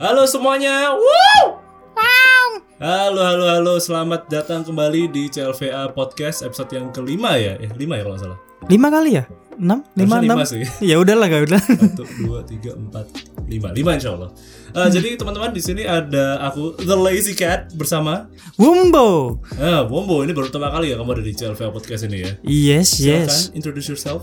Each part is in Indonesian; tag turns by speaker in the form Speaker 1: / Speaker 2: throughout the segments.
Speaker 1: Halo semuanya. Wow. Halo, halo, halo. Selamat datang kembali di CLVA Podcast episode yang kelima ya. Eh, lima ya kalau nggak salah.
Speaker 2: Lima kali ya? Enam? Lima,
Speaker 1: Harusnya
Speaker 2: enam?
Speaker 1: sih.
Speaker 2: Ya udahlah, gak udah.
Speaker 1: Satu, dua, tiga, empat, lima. Lima insya Allah. Eh, Jadi teman-teman di sini ada aku, The Lazy Cat bersama.
Speaker 2: Wumbo.
Speaker 1: Ah, Wombo, ini baru pertama kali ya kamu ada di CLVA Podcast ini ya.
Speaker 2: Yes, yes.
Speaker 1: Silakan, introduce yourself.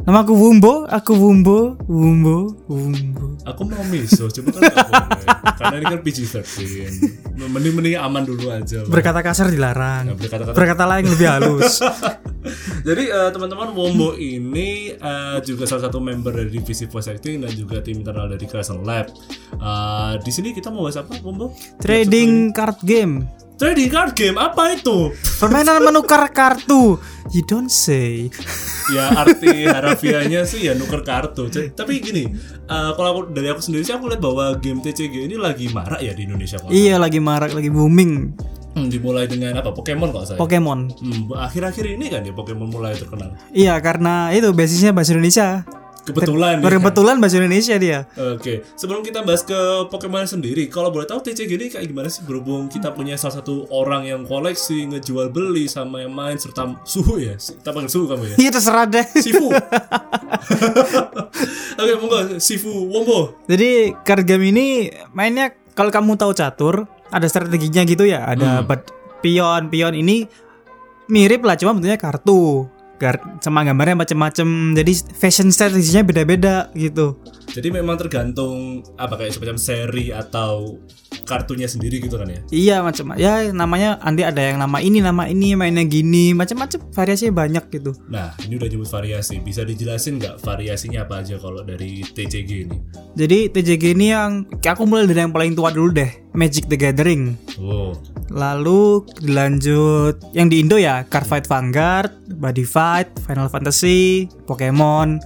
Speaker 2: Nama aku Wumbo, aku Wumbo, Wumbo, Wumbo.
Speaker 1: Aku mau miso, cuma kan nggak boleh. Karena ini kan PG-13. Mending-mending aman dulu aja. lah.
Speaker 2: Berkata kasar
Speaker 1: Nggak
Speaker 2: dilarang.
Speaker 1: berkata-kata
Speaker 2: Berkata lain lebih halus.
Speaker 1: Jadi eh, teman-teman Wombo ini eh, juga salah satu member dari divisi voice acting dan juga tim internal dari Crescent Lab. Eh, di sini kita mau bahas apa Wombo?
Speaker 2: Trading card game.
Speaker 1: Trading card game apa itu?
Speaker 2: Permainan menukar kartu. You don't say.
Speaker 1: ya arti harafiahnya sih ya nuker kartu. Jadi- tapi gini, eh, kalau aku, dari aku sendiri sih aku lihat bahwa game TCG ini lagi marak ya di Indonesia. Kalau
Speaker 2: Iya, lagi marak, lagi booming.
Speaker 1: Hmm, dimulai dengan apa Pokemon kalau saya.
Speaker 2: Pokemon.
Speaker 1: Hmm, akhir-akhir ini kan ya Pokemon mulai terkenal.
Speaker 2: Iya, karena itu basisnya bahasa Indonesia.
Speaker 1: Kebetulan. ya.
Speaker 2: Kebetulan bahasa Indonesia dia.
Speaker 1: Oke, sebelum kita bahas ke Pokemon sendiri, kalau boleh tahu TCG ini kayak gimana sih berhubung kita punya salah satu orang yang koleksi, ngejual beli sama yang main serta suhu ya, kita panggil suhu kamu ya,
Speaker 2: Iya, terserah deh.
Speaker 1: Sifu. Oke, monggo Sifu Wombo.
Speaker 2: Jadi card game ini mainnya kalau kamu tahu catur, ada strateginya gitu ya, ada bet- pion, pion ini mirip lah cuma bentuknya kartu. Gar- Sama gambarnya macem-macem Jadi fashion strateginya beda-beda gitu.
Speaker 1: Jadi memang tergantung apa kayak semacam seri atau kartunya sendiri gitu kan ya.
Speaker 2: Iya macam ya namanya nanti ada yang nama ini nama ini mainnya gini macam-macam variasinya banyak gitu.
Speaker 1: Nah, ini udah nyebut variasi. Bisa dijelasin nggak variasinya apa aja kalau dari TCG ini?
Speaker 2: Jadi TCG ini yang aku mulai dari yang paling tua dulu deh Magic the Gathering.
Speaker 1: Wow.
Speaker 2: Lalu dilanjut yang di Indo ya, Card Fight Vanguard, Body Fight, Final Fantasy, Pokemon,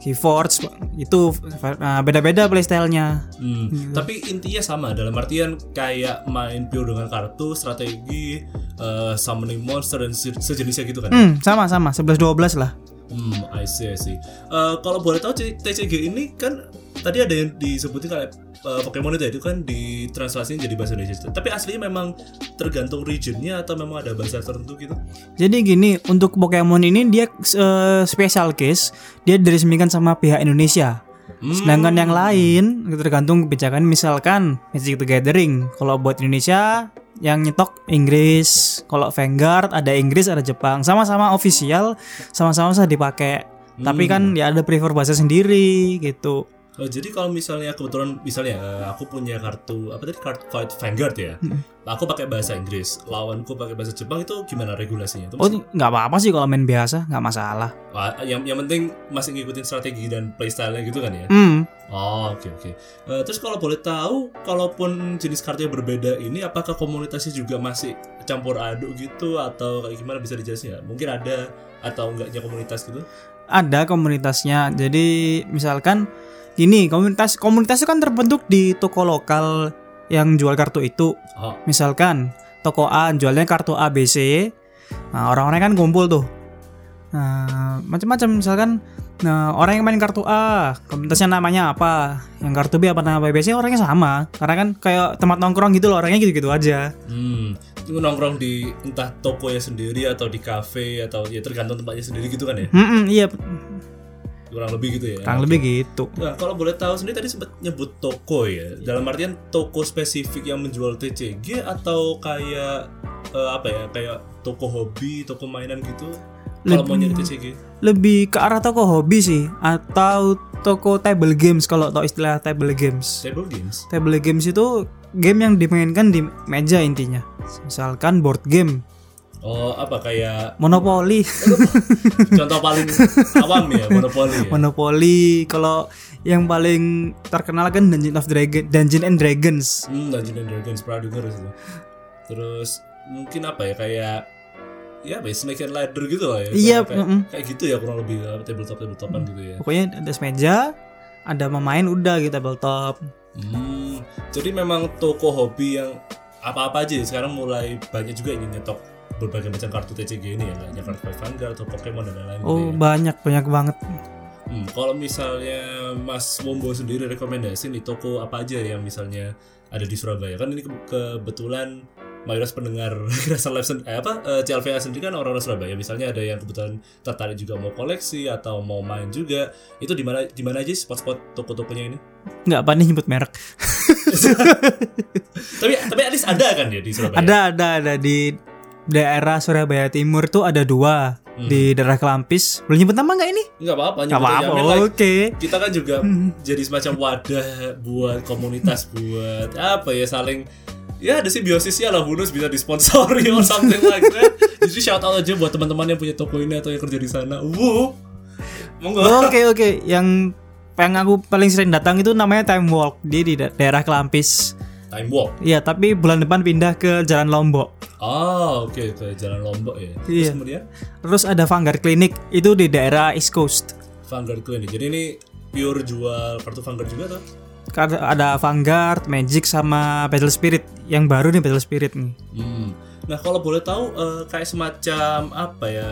Speaker 2: Keyforge itu uh, beda-beda playstyle-nya.
Speaker 1: Hmm, Tapi intinya sama dalam artian kayak main pure dengan kartu, strategi, eh, summoning monster dan se- sejenisnya gitu kan.
Speaker 2: Hmm, sama-sama 11 12 lah.
Speaker 1: Hmm, I see, I see. Eh, kalau boleh tahu C- TCG ini kan tadi ada yang disebutin kayak eh, Pokemon itu ya, itu kan ditranslasiin jadi bahasa Indonesia. Tapi aslinya memang tergantung regionnya atau memang ada bahasa tertentu gitu.
Speaker 2: Jadi gini, untuk Pokemon ini dia eh, special case, dia diresmikan sama pihak Indonesia.
Speaker 1: Hmm.
Speaker 2: Sedangkan yang lain tergantung kebijakan misalkan Magic the Gathering. Kalau buat Indonesia yang nyetok Inggris, kalau Vanguard ada Inggris ada Jepang, sama-sama official, sama-sama bisa dipakai. Tapi kan ya ada prefer bahasa sendiri gitu.
Speaker 1: Oh, jadi kalau misalnya kebetulan misalnya eh, aku punya kartu apa tadi kartu Fight Vanguard ya. Aku pakai bahasa Inggris, lawanku pakai bahasa Jepang itu gimana regulasinya? Itu
Speaker 2: Oh nggak apa-apa sih kalau main biasa, nggak masalah.
Speaker 1: Wah, yang yang penting masih ngikutin strategi dan playstyle-nya gitu kan ya.
Speaker 2: Hmm,
Speaker 1: Oh, oke oke. Eh, terus kalau boleh tahu, kalaupun jenis kartu yang berbeda ini apakah komunitasnya juga masih campur aduk gitu atau kayak gimana bisa dijelasin nggak? Mungkin ada atau enggaknya komunitas gitu?
Speaker 2: ada komunitasnya. Jadi misalkan gini komunitas komunitas itu kan terbentuk di toko lokal yang jual kartu itu.
Speaker 1: Oh,
Speaker 2: Misalkan toko A jualnya kartu ABC, nah, orang-orangnya kan kumpul tuh. Nah, macam-macam misalkan nah, orang yang main kartu A, komunitasnya namanya apa? Yang kartu B apa nama ABC orangnya sama. Karena kan kayak tempat nongkrong gitu loh, orangnya gitu-gitu aja.
Speaker 1: hmm, itu nongkrong di entah tokonya sendiri atau di kafe atau ya tergantung tempatnya sendiri gitu kan ya?
Speaker 2: Mm-mm, iya,
Speaker 1: Kurang lebih gitu ya.
Speaker 2: kurang lebih gitu.
Speaker 1: Nah, kalau boleh tahu sendiri tadi sempat nyebut toko ya. Dalam artian toko spesifik yang menjual TCG atau kayak eh, apa ya? Kayak toko hobi, toko mainan gitu. Kalau mau nyari TCG.
Speaker 2: Lebih ke arah toko hobi sih atau toko table games kalau tau istilah table games.
Speaker 1: Table games.
Speaker 2: Table games itu game yang dimainkan di meja intinya. Misalkan board game,
Speaker 1: Oh, apa kayak
Speaker 2: monopoli.
Speaker 1: contoh paling awam ya, Monopoly ya.
Speaker 2: Monopoly kalau yang paling terkenal kan Dungeon of Dragon Dungeon and Dragons
Speaker 1: Hmm, Dungeons and Dragons pernah denger itu. Terus mungkin apa ya kayak ya apa ya, Snake and Ladder gitu lah ya.
Speaker 2: Iya,
Speaker 1: Kayak- kayak,
Speaker 2: mm-mm.
Speaker 1: kayak gitu ya kurang lebih tabletop tabletopan gitu ya.
Speaker 2: pokoknya ada meja ada pemain udah gitu tabletop
Speaker 1: Hmm, jadi memang toko hobi yang apa-apa aja ya, sekarang mulai banyak juga yang nyetok berbagai macam kartu TCG ini ya, nggak hanya kartu Vanguard atau Pokemon dan lain-lain.
Speaker 2: oh
Speaker 1: gitu ya.
Speaker 2: banyak banyak banget
Speaker 1: Hmm, kalau misalnya Mas Wombo sendiri rekomendasi nih toko apa aja yang misalnya ada di Surabaya kan ini ke- kebetulan mayoritas pendengar Rasa Live sen- eh, apa eh, CLVA sendiri kan orang-orang Surabaya misalnya ada yang kebetulan tertarik juga mau koleksi atau mau main juga itu di mana di mana aja sih spot-spot toko-tokonya ini
Speaker 2: nggak panik nyebut merek
Speaker 1: tapi tapi at least ada kan ya di Surabaya
Speaker 2: ada ada ada di daerah Surabaya Timur tuh ada dua
Speaker 1: Hmm.
Speaker 2: di daerah Kelampis boleh nyebut nama nggak ini
Speaker 1: nggak apa-apa
Speaker 2: nggak
Speaker 1: nyebut aja. I
Speaker 2: apa-apa
Speaker 1: mean, like,
Speaker 2: oke
Speaker 1: kita kan juga
Speaker 2: Hmm.
Speaker 1: jadi semacam wadah buat komunitas buat apa ya saling ya ada simbiosisnya lah bonus bisa disponsori
Speaker 2: Hmm.
Speaker 1: or something like that jadi shout out aja buat teman-teman yang punya toko ini atau yang kerja di sana wuh monggo
Speaker 2: oke oke yang yang aku paling sering datang itu namanya Time Walk dia di da- daerah Kelampis
Speaker 1: time walk
Speaker 2: Iya, tapi bulan depan pindah ke Jalan Lombok.
Speaker 1: oh oke ke jalan lombok ya terus
Speaker 2: Iya.
Speaker 1: kemudian
Speaker 2: Terus ada Vanguard Clinic, itu di daerah East Coast.
Speaker 1: Vanguard Clinic jadi ini pure jual kartu Vanguard juga tuh
Speaker 2: Kar- Ada Vanguard, Magic, sama Battle Spirit. Yang baru nih Battle Spirit nih.
Speaker 1: Hmm. Nah kalau boleh tahu eh, kayak semacam apa ya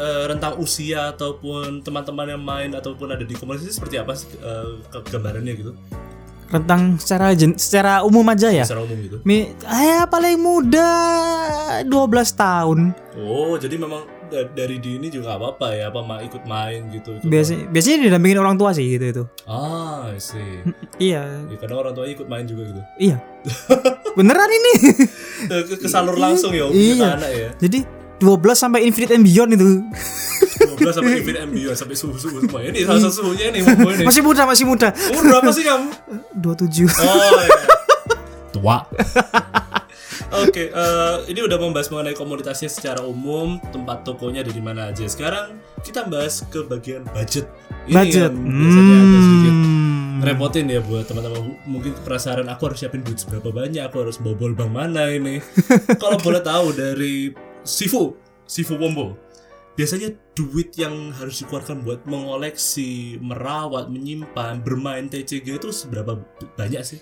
Speaker 1: eh, rentang usia ataupun teman-teman yang main ataupun ada di komunitas itu seperti apa sih eh, ke- gambarannya gitu
Speaker 2: Rentang secara jen- secara umum aja ya.
Speaker 1: secara umum gitu.
Speaker 2: Mi, eh paling muda 12 tahun.
Speaker 1: Oh jadi memang da- dari di ini juga nggak apa-apa ya apa ma- ikut main gitu. ikut main.
Speaker 2: Biasanya biasanya didampingin orang tua sih gitu itu.
Speaker 1: Ah I see.
Speaker 2: Iya,
Speaker 1: Ya, karena orang tuanya ikut main juga gitu. Eh,
Speaker 2: iya. Beneran ini.
Speaker 1: Ke- Kesalur langsung ya
Speaker 2: Iya.
Speaker 1: ke anak ya.
Speaker 2: Jadi 12 sampai Infinite and Beyond itu.
Speaker 1: 12 sampai infinite MBU ya, sampai suhu-suhu semua. Ini salah satu suhunya nih mau ini.
Speaker 2: Masih muda, masih muda.
Speaker 1: Umur berapa sih kamu?
Speaker 2: 27.
Speaker 1: Oh iya. Tua. Oke, eh, ini udah membahas mengenai komunitasnya secara umum, tempat tokonya ada di mana aja. Sekarang kita bahas ke bagian budget. Ini
Speaker 2: Budget.
Speaker 1: yang Iya, biasanya agak sedikit
Speaker 2: Hmm.
Speaker 1: repotin ya buat teman-teman. Mungkin penasaran aku harus siapin duit seberapa banyak, aku harus bobol bank mana ini. Kalau boleh tahu dari Sifu, Sifu Wombo. Biasanya duit yang harus dikeluarkan buat mengoleksi, merawat, menyimpan, bermain TCG itu seberapa banyak sih?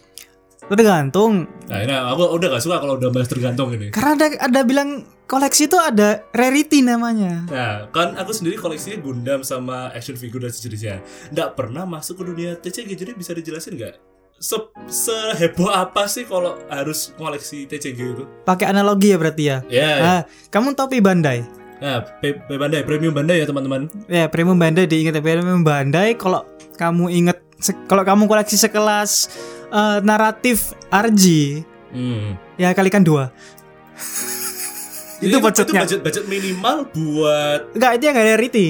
Speaker 2: Tergantung.
Speaker 1: Nah, ini aku udah gak suka kalau udah bahas tergantung ini.
Speaker 2: Karena ada ada bilang koleksi itu ada rarity namanya.
Speaker 1: Nah, kan aku sendiri koleksinya Gundam sama action figure dan sejenisnya. Nggak pernah masuk ke dunia TCG, jadi bisa dijelasin nggak? Se seheboh apa sih kalau harus koleksi TCG itu?
Speaker 2: Pakai analogi ya berarti ya.
Speaker 1: Ya,
Speaker 2: Ah, kamu topi Bandai.
Speaker 1: nah, P- P- Bandai, premium Bandai ya teman-teman.
Speaker 2: Ya, premium Bandai diingat ya, premium Bandai kalau kamu inget se- kalau kamu koleksi sekelas eh, naratif RG
Speaker 1: Hmm.
Speaker 2: ya kalikan dua.
Speaker 1: Jadi
Speaker 2: itu budgetnya.
Speaker 1: budget, budget minimal buat
Speaker 2: Enggak, itu yang rarity.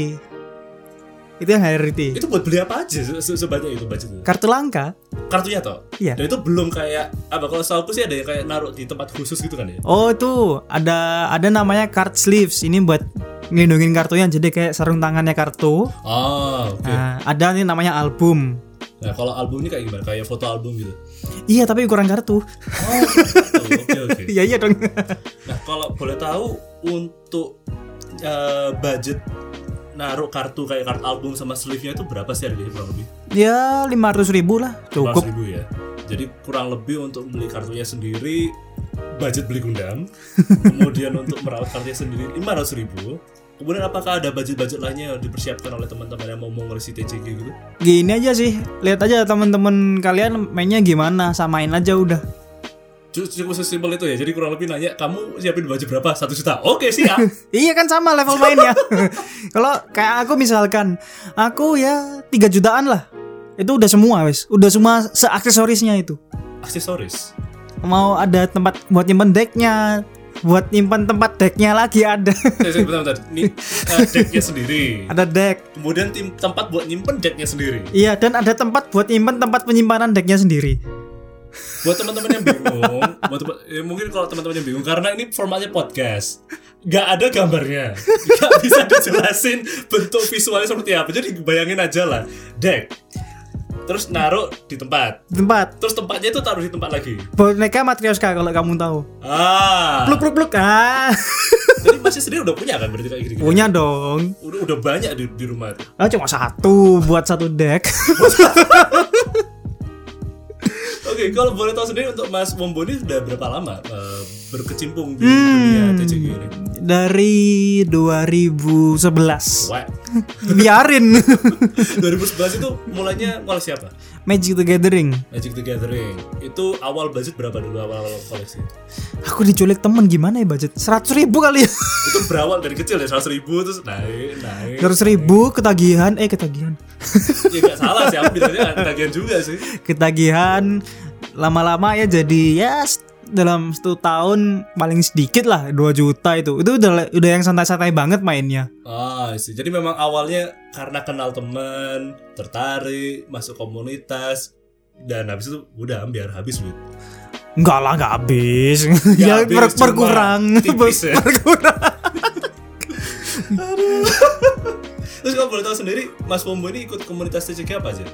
Speaker 2: Itu yang rarity.
Speaker 1: itu buat beli apa aja se- se- sebanyak itu budget itu.
Speaker 2: Kartu langka.
Speaker 1: Kartunya toh.
Speaker 2: Iya.
Speaker 1: Dan itu belum kayak apa kalau setahu aku sih ada yang kayak naruh di tempat khusus gitu kan ya.
Speaker 2: Oh itu ada ada namanya card sleeves ini buat ngelindungin kartunya jadi kayak sarung tangannya kartu.
Speaker 1: Oh, oke.
Speaker 2: Nah, ada nih namanya album.
Speaker 1: Nah, kalau album ini kayak gimana? Kayak foto album gitu.
Speaker 2: Iya tapi ukuran kartu.
Speaker 1: Oh, oke oke.
Speaker 2: Iya iya dong.
Speaker 1: Nah, kalau boleh tahu untuk eh, budget naruh kartu kayak kartu album sama sleeve-nya itu berapa sih harganya kurang lebih?
Speaker 2: ya lima ribu lah cukup.
Speaker 1: 100.000 ya. Jadi kurang lebih untuk beli kartunya sendiri budget beli Gundam, kemudian untuk merawat kartunya sendiri 500.000 Kemudian apakah ada budget-budget lainnya yang dipersiapkan oleh teman-teman yang mau mengoleksi TCG gitu?
Speaker 2: Gini aja sih. Lihat aja teman-teman kalian mainnya gimana, samain aja udah.
Speaker 1: Cu- Cukup sesimpel itu ya. Jadi kurang lebih nanya, kamu siapin budget berapa? 1 juta. Oke, siap.
Speaker 2: Iya kan sama level mainnya. Kalau kayak aku misalkan, aku ya 3 jutaan lah. Itu udah semua wes, udah semua seaksesorisnya itu.
Speaker 1: Aksesoris.
Speaker 2: Mau ada tempat buat nyimpen decknya, buat nyimpen tempat decknya lagi ada.
Speaker 1: Saya- saya- bentar, bentar. Ini eh, decknya sendiri.
Speaker 2: ada deck.
Speaker 1: Kemudian tim tempat buat nyimpen decknya sendiri.
Speaker 2: Iya, dan ada tempat buat nyimpen tempat penyimpanan decknya sendiri.
Speaker 1: Buat teman-teman yang bingung, buat teman- ya mungkin kalau teman-teman yang bingung karena ini formatnya podcast, nggak ada gambarnya, nggak bisa dijelasin bentuk visualnya seperti apa. Jadi bayangin aja lah, deck. Terus naruh di tempat.
Speaker 2: Tempat
Speaker 1: Terus tempatnya itu taruh di tempat lagi.
Speaker 2: boneka Matryoshka kalau kamu tahu.
Speaker 1: Ah.
Speaker 2: Pluk pluk pluk. Ah.
Speaker 1: Jadi masih sendiri udah punya kan berarti kayak gini.
Speaker 2: Punya dong.
Speaker 1: Udah, udah banyak di, di rumah itu.
Speaker 2: Ah, cuma satu buat satu deck.
Speaker 1: Oke, kalau boleh tahu sendiri untuk Mas Wombo ini sudah berapa lama eh, berkecimpung di dunia
Speaker 2: Hmm.
Speaker 1: TCG ini.
Speaker 2: Dari 2011.
Speaker 1: Wah,
Speaker 2: Biarin.
Speaker 1: 2011 itu mulainya koleksi apa?
Speaker 2: Magic the Gathering.
Speaker 1: Magic the Gathering. Itu awal budget berapa dulu awal-awal koleksi?
Speaker 2: Aku diculik temen gimana ya budget? 100 ribu kali ya.
Speaker 1: Itu berawal dari kecil ya 100 ribu terus naik naik.
Speaker 2: 100 ribu ketagihan. Eh ketagihan.
Speaker 1: ya nggak salah sih, aku bilangnya ketagihan juga sih.
Speaker 2: ketagihan lama-lama ya jadi ya s- dalam satu tahun paling sedikit lah 2 juta itu itu udah udah yang santai-santai banget mainnya
Speaker 1: Ah, sih. Jadi memang awalnya karena kenal teman, tertarik, masuk komunitas, dan habis itu udah biar habis duit.
Speaker 2: enggak lah enggak habis
Speaker 1: Nggak
Speaker 2: ya
Speaker 1: habis,
Speaker 2: per-
Speaker 1: cuma
Speaker 2: perkurang
Speaker 1: tipis ya.
Speaker 2: perkurang
Speaker 1: Terus kalau boleh tahu sendiri, Mas Pombo ini ikut komunitas TCG apa aja?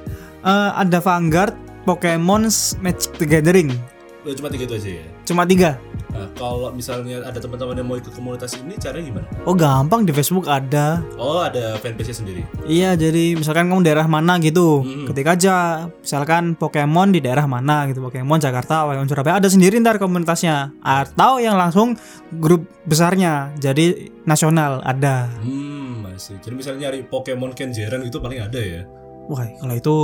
Speaker 2: Eh, ada Vanguard Pokemon S- Magic the Gathering
Speaker 1: Oh, Cuma tiga itu aja ya.
Speaker 2: cuma tiga
Speaker 1: Nah, kalau misalnya ada teman-teman yang mau ikut komunitas ini, caranya gimana?
Speaker 2: oh gampang di Facebook ada
Speaker 1: Oh, ada fanpage-nya sendiri.
Speaker 2: Iya, jadi misalkan kamu daerah mana gitu, ketika aja misalkan Pokemon di daerah mana gitu, Pokemon Jakarta, Pokemon Surabaya ada sendiri ntar komunitasnya, atau yang langsung grup besarnya, jadi nasional ada.
Speaker 1: Hmm, masih. Jadi misalnya nyari Pokemon Kenjeran itu paling ada ya.
Speaker 2: Wah, kalau itu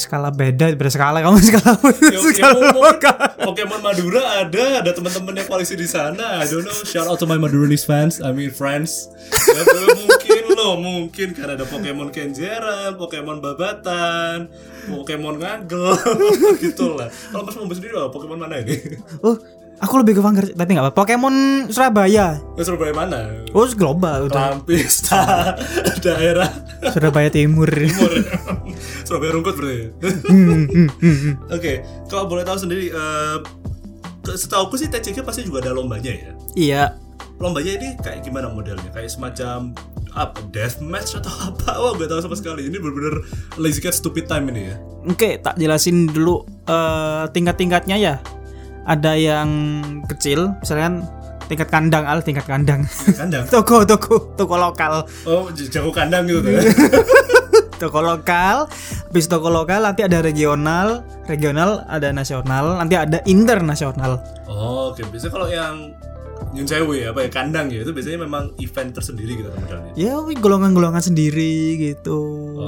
Speaker 2: skala beda berskala kamu skala skala
Speaker 1: Pokemon.
Speaker 2: lokal.
Speaker 1: Pokemon Madura ada, ada teman-teman yang koleksi di sana. I don't know. Shout out to my Maduranese fans, I mean friends. Ya, boleh, mungkin loh, mungkin karena ada Pokemon Kenjeran, Pokemon Babatan, Pokemon Ngagel, gitu lah. Kalau Mas Mumbai sendiri, oh, Pokemon mana ini?
Speaker 2: Oh, aku lebih ke Vanguard, tapi nggak apa. Pokemon Surabaya,
Speaker 1: Mas Surabaya mana?
Speaker 2: oh global udah.
Speaker 1: Lampis, ta- daerah
Speaker 2: Surabaya Timur.
Speaker 1: timur. Surabaya rungkut berarti. ya?
Speaker 2: Hmm, hmm, hmm, hmm.
Speaker 1: Oke, kalau boleh tahu sendiri, eh, ke- setauku sih TCG pasti juga ada lombanya ya.
Speaker 2: Iya,
Speaker 1: Lombanya ini kayak gimana modelnya? Kayak semacam apa deathmatch atau apa? Wah, gak tahu sama sekali. Ini bener-bener lazy cat stupid time ini ya.
Speaker 2: Oke, tak jelasin dulu eh, tingkat-tingkatnya ya. Ada yang kecil, misalkan tingkat kandang, al tingkat kandang.
Speaker 1: Kandang.
Speaker 2: Toko, toko, toko lokal,
Speaker 1: Oh, j- jago kandang gitu tuh. ya.
Speaker 2: Hmm. toko lokal. Habis toko lokal nanti ada regional, regional ada nasional, nanti ada internasional.
Speaker 1: Oh, Oke, biasanya kalau yang Nyun Sewu ya, apa ya kandang ya itu biasanya memang event tersendiri gitu kan modelnya.
Speaker 2: Ya golongan-golongan sendiri gitu.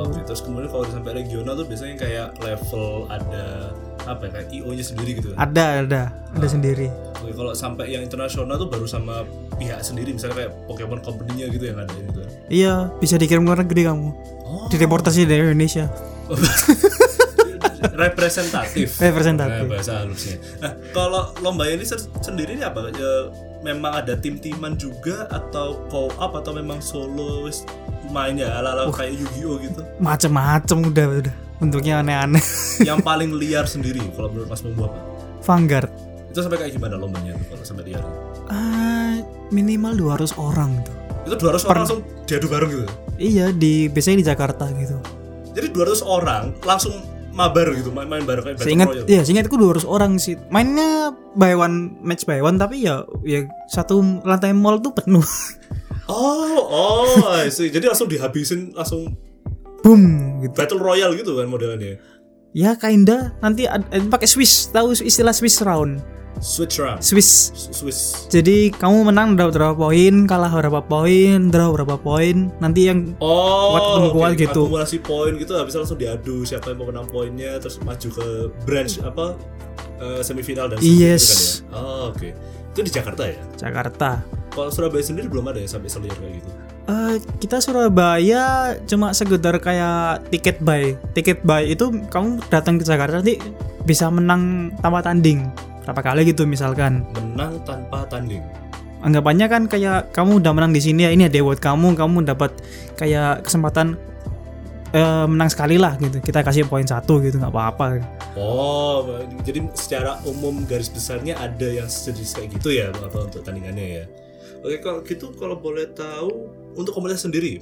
Speaker 1: Oke, terus kemudian kalau udah sampai regional tuh biasanya kayak level ada apa ya kayak IO-nya sendiri gitu kan.
Speaker 2: Ada, ada, ada sendiri.
Speaker 1: Oke, kalau sampai yang internasional tuh baru sama pihak sendiri misalnya kayak Pokemon company-nya gitu yang ada gitu.
Speaker 2: Iya, bisa dikirim ke luar negeri kamu.
Speaker 1: Oh.
Speaker 2: Direportasi dari Indonesia.
Speaker 1: representatif.
Speaker 2: Representatif.
Speaker 1: Nah, bahasa halusnya. Nah, kalau lomba ini ser- sendiri ini apa? Ya, memang ada tim-timan juga atau co-op atau memang solo wis main ya ala-ala kayak Yu-Gi-Oh gitu.
Speaker 2: Macem-macem udah, udah. Bentuknya aneh-aneh.
Speaker 1: yang paling liar sendiri kalau menurut Mas Mumbu apa?
Speaker 2: Vanguard.
Speaker 1: Itu sampai kayak gimana lombanya tuh kalau sampai liar?
Speaker 2: Ah, minimal 200 orang tuh.
Speaker 1: Itu 200 orang langsung diadu bareng gitu.
Speaker 2: Iya di biasanya di Jakarta gitu.
Speaker 1: Jadi 200 orang langsung mabar gitu main-main bareng kayak battle
Speaker 2: Seingat
Speaker 1: royale.
Speaker 2: ya seingatku 200 orang sih. Mainnya by one match by one tapi ya ya satu lantai mall tuh penuh.
Speaker 1: Oh, oh, I see. Jadi langsung dihabisin langsung
Speaker 2: Boom gitu.
Speaker 1: battle royale gitu kan modelnya.
Speaker 2: Ya kinda nanti ad- ad- pakai Swiss tahu istilah Swiss round.
Speaker 1: Switch round.
Speaker 2: Swiss.
Speaker 1: Swiss.
Speaker 2: Jadi kamu menang dapat berapa poin, kalah berapa poin, draw berapa poin. Nanti yang
Speaker 1: Oh,
Speaker 2: Kuat ketemu kuat
Speaker 1: oke.
Speaker 2: gitu.
Speaker 1: Akumulasi poin gitu habis itu langsung diadu siapa yang mau menang poinnya terus maju ke branch apa eh, semifinal dan seterusnya
Speaker 2: Yes.
Speaker 1: gitu kan ya. Oh, oke. Itu di Jakarta ya.
Speaker 2: Jakarta.
Speaker 1: Kalau Surabaya sendiri belum ada ya sampai selir kayak gitu.
Speaker 2: Eh, kita Surabaya cuma sekedar kayak tiket buy. Tiket buy itu kamu datang ke Jakarta nanti bisa menang tanpa tanding. Berapa kali gitu misalkan.
Speaker 1: Menang tanpa tanding.
Speaker 2: Anggapannya kan kayak kamu udah menang di sini ya ini ada buat kamu, kamu dapat kayak kesempatan eh, menang sekali lah gitu. Kita kasih poin satu gitu nggak apa-apa.
Speaker 1: Oh, jadi secara umum garis besarnya ada yang sejenis kayak gitu ya apa untuk tandingannya ya. Oke, kalau gitu kalau boleh tahu untuk komunitas sendiri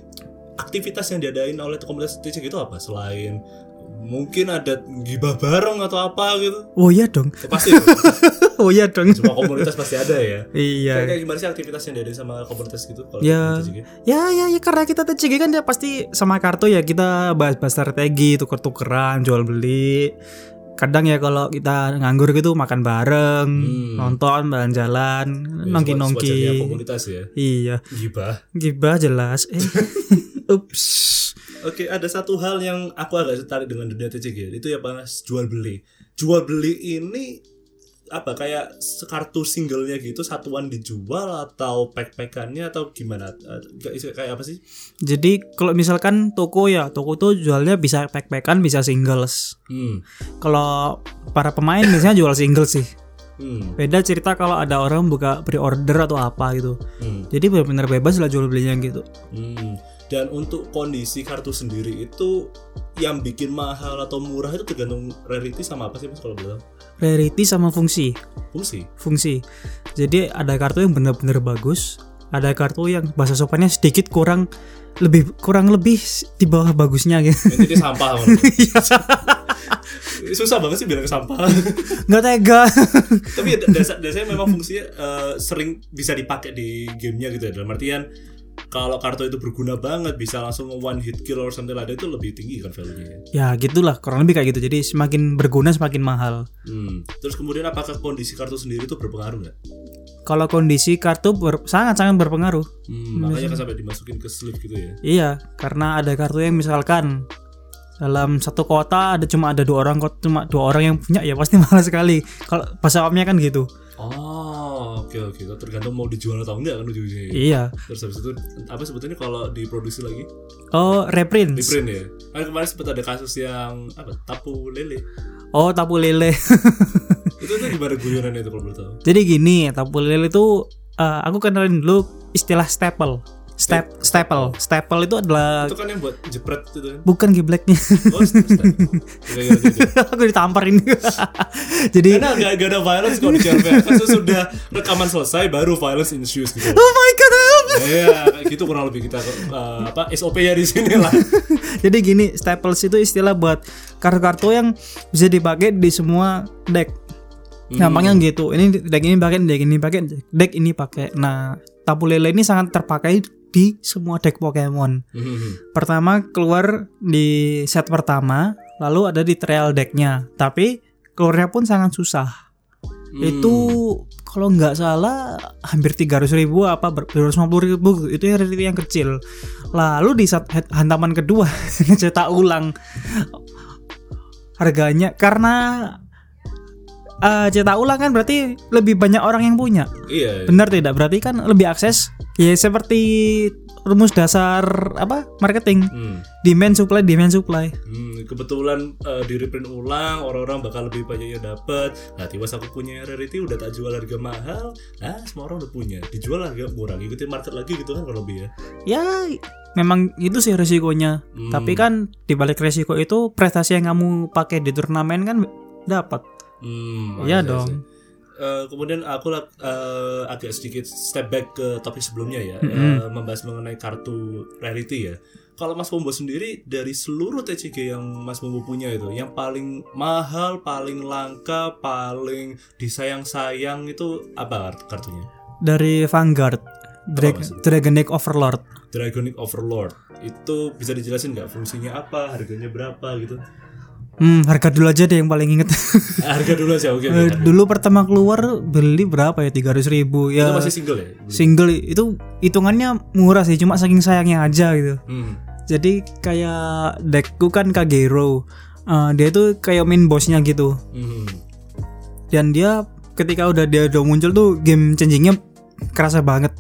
Speaker 1: aktivitas yang diadain oleh komunitas TC itu apa selain mungkin ada gibah bareng atau apa gitu?
Speaker 2: Oh iya dong.
Speaker 1: Ya, pasti dong.
Speaker 2: oh iya dong.
Speaker 1: semua komunitas pasti ada ya. Kayak,
Speaker 2: Iya.
Speaker 1: kayak gimana sih aktivitas yang diadain sama komunitas gitu kalau
Speaker 2: Ya.
Speaker 1: TCG?
Speaker 2: Ya ya ya karena kita TCG kan ya pasti sama kartu ya kita bahas-bahas strategi, tuker-tukeran, jual beli kadang ya kalau kita nganggur gitu makan bareng,
Speaker 1: Hmm.
Speaker 2: nonton jalan-jalan, nongki-nongki.
Speaker 1: Wajarnya komunitas ya.
Speaker 2: Iya,
Speaker 1: Gibah.
Speaker 2: gibah jelas. Eh. Ups.
Speaker 1: Oke, ada satu hal yang aku agak tertarik dengan dunia TCG. Itu ya panas jual beli. Jual beli ini apa kayak kartu singlenya gitu satuan dijual atau pack-packannya atau gimana Eh, kayak- kayak apa sih
Speaker 2: Jadi kalau misalkan toko ya, toko tuh jualnya bisa pack-packan, bisa singles.
Speaker 1: hmm.
Speaker 2: Kalau para pemain biasanya jual singles sih.
Speaker 1: Hmm.
Speaker 2: Beda cerita kalau ada orang buka pre-order atau apa gitu.
Speaker 1: Hmm.
Speaker 2: Jadi benar-benar bebas lah jual belinya gitu.
Speaker 1: Hmm. Dan untuk kondisi kartu sendiri itu yang bikin mahal atau murah itu tergantung rarity sama apa sih mas kalau boleh tahu?
Speaker 2: Rarity sama fungsi.
Speaker 1: Fungsi.
Speaker 2: fungsi. Jadi ada kartu yang benar-benar bagus, ada kartu yang bahasa sopannya sedikit kurang lebih kurang lebih di bawah bagusnya gitu.
Speaker 1: Yang Jadi sampah. Mas. Susah banget sih bilang sampah.
Speaker 2: Nggak tega.
Speaker 1: Tapi ya dasar, dasarnya memang fungsinya eh, sering bisa dipakai di gamenya gitu ya. Dalam artian kalau kartu itu berguna banget bisa langsung one hit kill or something like that itu lebih tinggi kan value-nya.
Speaker 2: ya gitulah kurang lebih kayak gitu. Jadi semakin berguna semakin mahal.
Speaker 1: Hmm. Terus kemudian apakah kondisi kartu sendiri itu berpengaruh nggak?
Speaker 2: Kalau kondisi kartu ber- sangat-sangat berpengaruh.
Speaker 1: Hmm, makanya kan sampai dimasukin ke slip gitu ya.
Speaker 2: Iya, karena ada kartu yang misalkan dalam satu kota ada cuma ada dua orang kok cuma dua orang yang punya ya pasti mahal sekali. Kalau bahasa awamnya kan gitu.
Speaker 1: Oh, oke oke. Tergantung mau dijual atau enggak kan ujung-ujungnya.
Speaker 2: Iya.
Speaker 1: Terus habis itu apa sebetulnya kalau diproduksi lagi?
Speaker 2: Oh, reprint.
Speaker 1: Di print ya. Kan kemarin sempat ada kasus yang apa? Tapu lele.
Speaker 2: Oh, tapu lele.
Speaker 1: Itu tuh gimana guyonannya itu kalau boleh tahu?
Speaker 2: Jadi gini, tapu lele itu eh, aku kenalin dulu istilah staple. Step, staple. Staple itu adalah
Speaker 1: Itu kan yang buat jepret itu kan.
Speaker 2: bukan gebleknya.
Speaker 1: Oh, step-step. Oke, oke, oke.
Speaker 2: aku ditampar ini. Jadi
Speaker 1: Karena gak, gak ada violence kalau di CLVR Kasus sudah rekaman selesai baru violence ensues gitu
Speaker 2: Oh my god. help!
Speaker 1: Iya, kayak gitu kurang lebih kita eh, apa SOP ya di sini lah.
Speaker 2: Jadi gini, staples itu istilah buat kartu-kartu yang bisa dipakai di semua deck. Gampangnya gitu. Ini deck ini pakai, deck ini pakai, deck ini pakai. Nah, tapu lele ini sangat terpakai di semua deck Pokemon.
Speaker 1: Hmm.
Speaker 2: pertama keluar di set pertama lalu ada di trial decknya tapi keluarnya pun sangat susah itu kalau nggak salah hampir 300 ribu apa ber- 250 ribu itu yang rarity yang kecil lalu di saat het- hantaman kedua cetak ulang harganya karena eh, cetak ulang kan berarti lebih banyak orang yang punya
Speaker 1: Iya.
Speaker 2: Benar tidak? Berarti kan lebih akses ya seperti rumus dasar apa marketing
Speaker 1: Hmm.
Speaker 2: demand supply demand supply
Speaker 1: Hmm, kebetulan eh, di reprint ulang orang-orang bakal lebih banyak yang dapat. Nah, tiwas aku punya rarity udah tak jual harga mahal. Nah, semua orang udah punya. Dijual harga murah. Ikutin market lagi gitu kan kalau lebih ya.
Speaker 2: ya memang itu sih resikonya
Speaker 1: Hmm.
Speaker 2: tapi kan dibalik resiko itu prestasi yang kamu pakai di turnamen kan dapat
Speaker 1: Hmm,
Speaker 2: Iya
Speaker 1: makasih,
Speaker 2: dong.
Speaker 1: makasih. Eh, kemudian aku lak- eh, agak sedikit step back ke topik sebelumnya ya, eh,
Speaker 2: Mm-mm.
Speaker 1: membahas mengenai kartu rarity ya. Kalau Mas Bombo sendiri dari seluruh TCG yang Mas Bombo punya itu, yang paling mahal, paling langka, paling disayang-sayang itu apa kart- kartunya?
Speaker 2: dari Vanguard Dra-
Speaker 1: maksudnya?
Speaker 2: Dragon Deck Overlord
Speaker 1: Dragonic Overlord itu bisa dijelasin nggak fungsinya apa, harganya berapa gitu?
Speaker 2: hmm harga dulu aja deh yang paling inget
Speaker 1: Eh, harga dulu aja, oke. oke.
Speaker 2: Eh, dulu pertama keluar beli berapa ya 300 ribu
Speaker 1: Itu
Speaker 2: ya
Speaker 1: masih single ya?
Speaker 2: single itu hitungannya murah sih cuma saking sayangnya aja gitu
Speaker 1: Hmm.
Speaker 2: Jadi kayak deckku kan Kagero. Eh, dia itu kayak main bossnya gitu.
Speaker 1: Hmm.
Speaker 2: Dan dia ketika udah dia udah muncul tuh game changingnya kerasa banget.